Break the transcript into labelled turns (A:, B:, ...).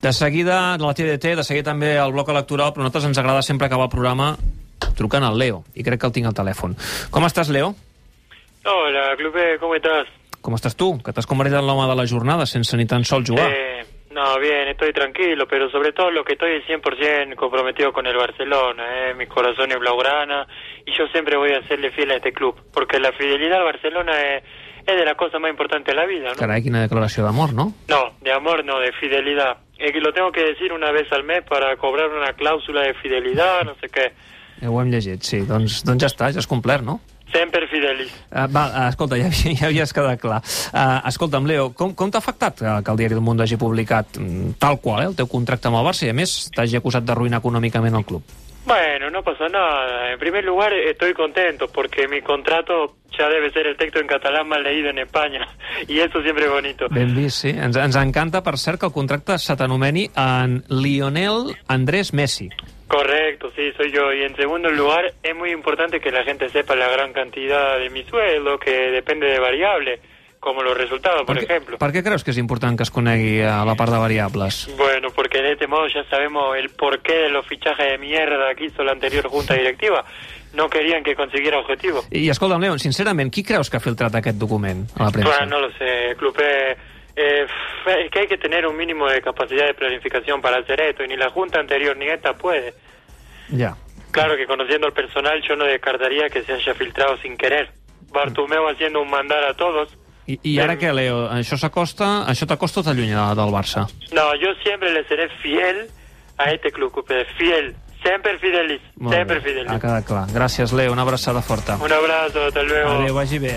A: De seguida, de la TDT, de seguida també el bloc electoral, però a nosaltres ens agrada sempre acabar el programa trucant al Leo, i crec que el tinc al telèfon. Com estàs, Leo?
B: Hola, Clube, ¿cómo estás?
A: Com estàs tu? Que t'has convertit en l'home de la jornada sense ni tan sols jugar.
B: Eh, no, bien, estoy tranquilo, pero sobre todo lo que estoy es 100% comprometido con el Barcelona. Eh. Mi corazón es blaugrana y yo siempre voy a hacerle fiel a este club, porque la fidelidad al Barcelona es, es de las cosas más importantes de la vida, ¿no?
A: Carai, quina declaració d'amor, no?
B: No, de amor no, de fidelidad. Es que lo tengo que decir una vez al mes para cobrar una cláusula de fidelidad, no sé qué.
A: Eh, ho hem llegit, sí. Doncs, doncs ja està, ja has complert, no?
B: Siempre fidelis.
A: Uh, va, uh, escolta, ja, havia- ja havies quedat clar. Uh, escolta'm, Leo, com, com t'ha afectat eh, que el Diari del Mundo hagi publicat mm, tal qual eh, el teu contracte amb el Barça i, a més, t'hagi acusat d'arruïnar econòmicament el club?
B: Bueno, no pasa nada. En primer lugar, estoy contento porque mi contrato ya debe ser el texto en catalán más leído en España. Y eso siempre es bonito.
A: Ben vist, sí. Ens, ens encanta, per cert, que el contracte se t'anomeni en Lionel Andrés Messi.
B: Correcto, sí, soy yo. Y en segundo lugar, es muy importante que la gente sepa la gran cantidad de mi sueldo, que depende de variables, como los resultados, por,
A: què-
B: ejemplo.
A: per què creus que és important que es conegui eh, la part de variables?
B: Bueno, porque de este modo ya sabemos el porqué de los fichajes de mierda que hizo la anterior junta directiva. No querían que consiguiera objetivo.
A: I, escolta'm, Leon, sincerament, qui creus que ha filtrat aquest document a la premsa?
B: Bueno, Ah, no lo sé, Clupe. Eh, f- es que hay que tener un mínimo de capacidad de planificación para hacer esto, y ni la junta anterior ni esta puede.
A: Ja.
B: Claro que conociendo al personal yo no descartaría que se haya filtrado sin querer. Bartumeo haciendo un mandar a todos.
A: I, I ara
B: Em-
A: què, Leo? Això s'acosta... Això t'acosta o t'allunya del Barça?
B: No, yo siempre le seré fiel a este club, Clupe, fiel. Siempre fidelis,
A: Molt bé,
B: siempre
A: ha
B: fidelis.
A: quedat clar. Gràcies, Leo. Una abraçada forta.
B: Un abrazo, hasta luego.
A: Adéu, vagi bé.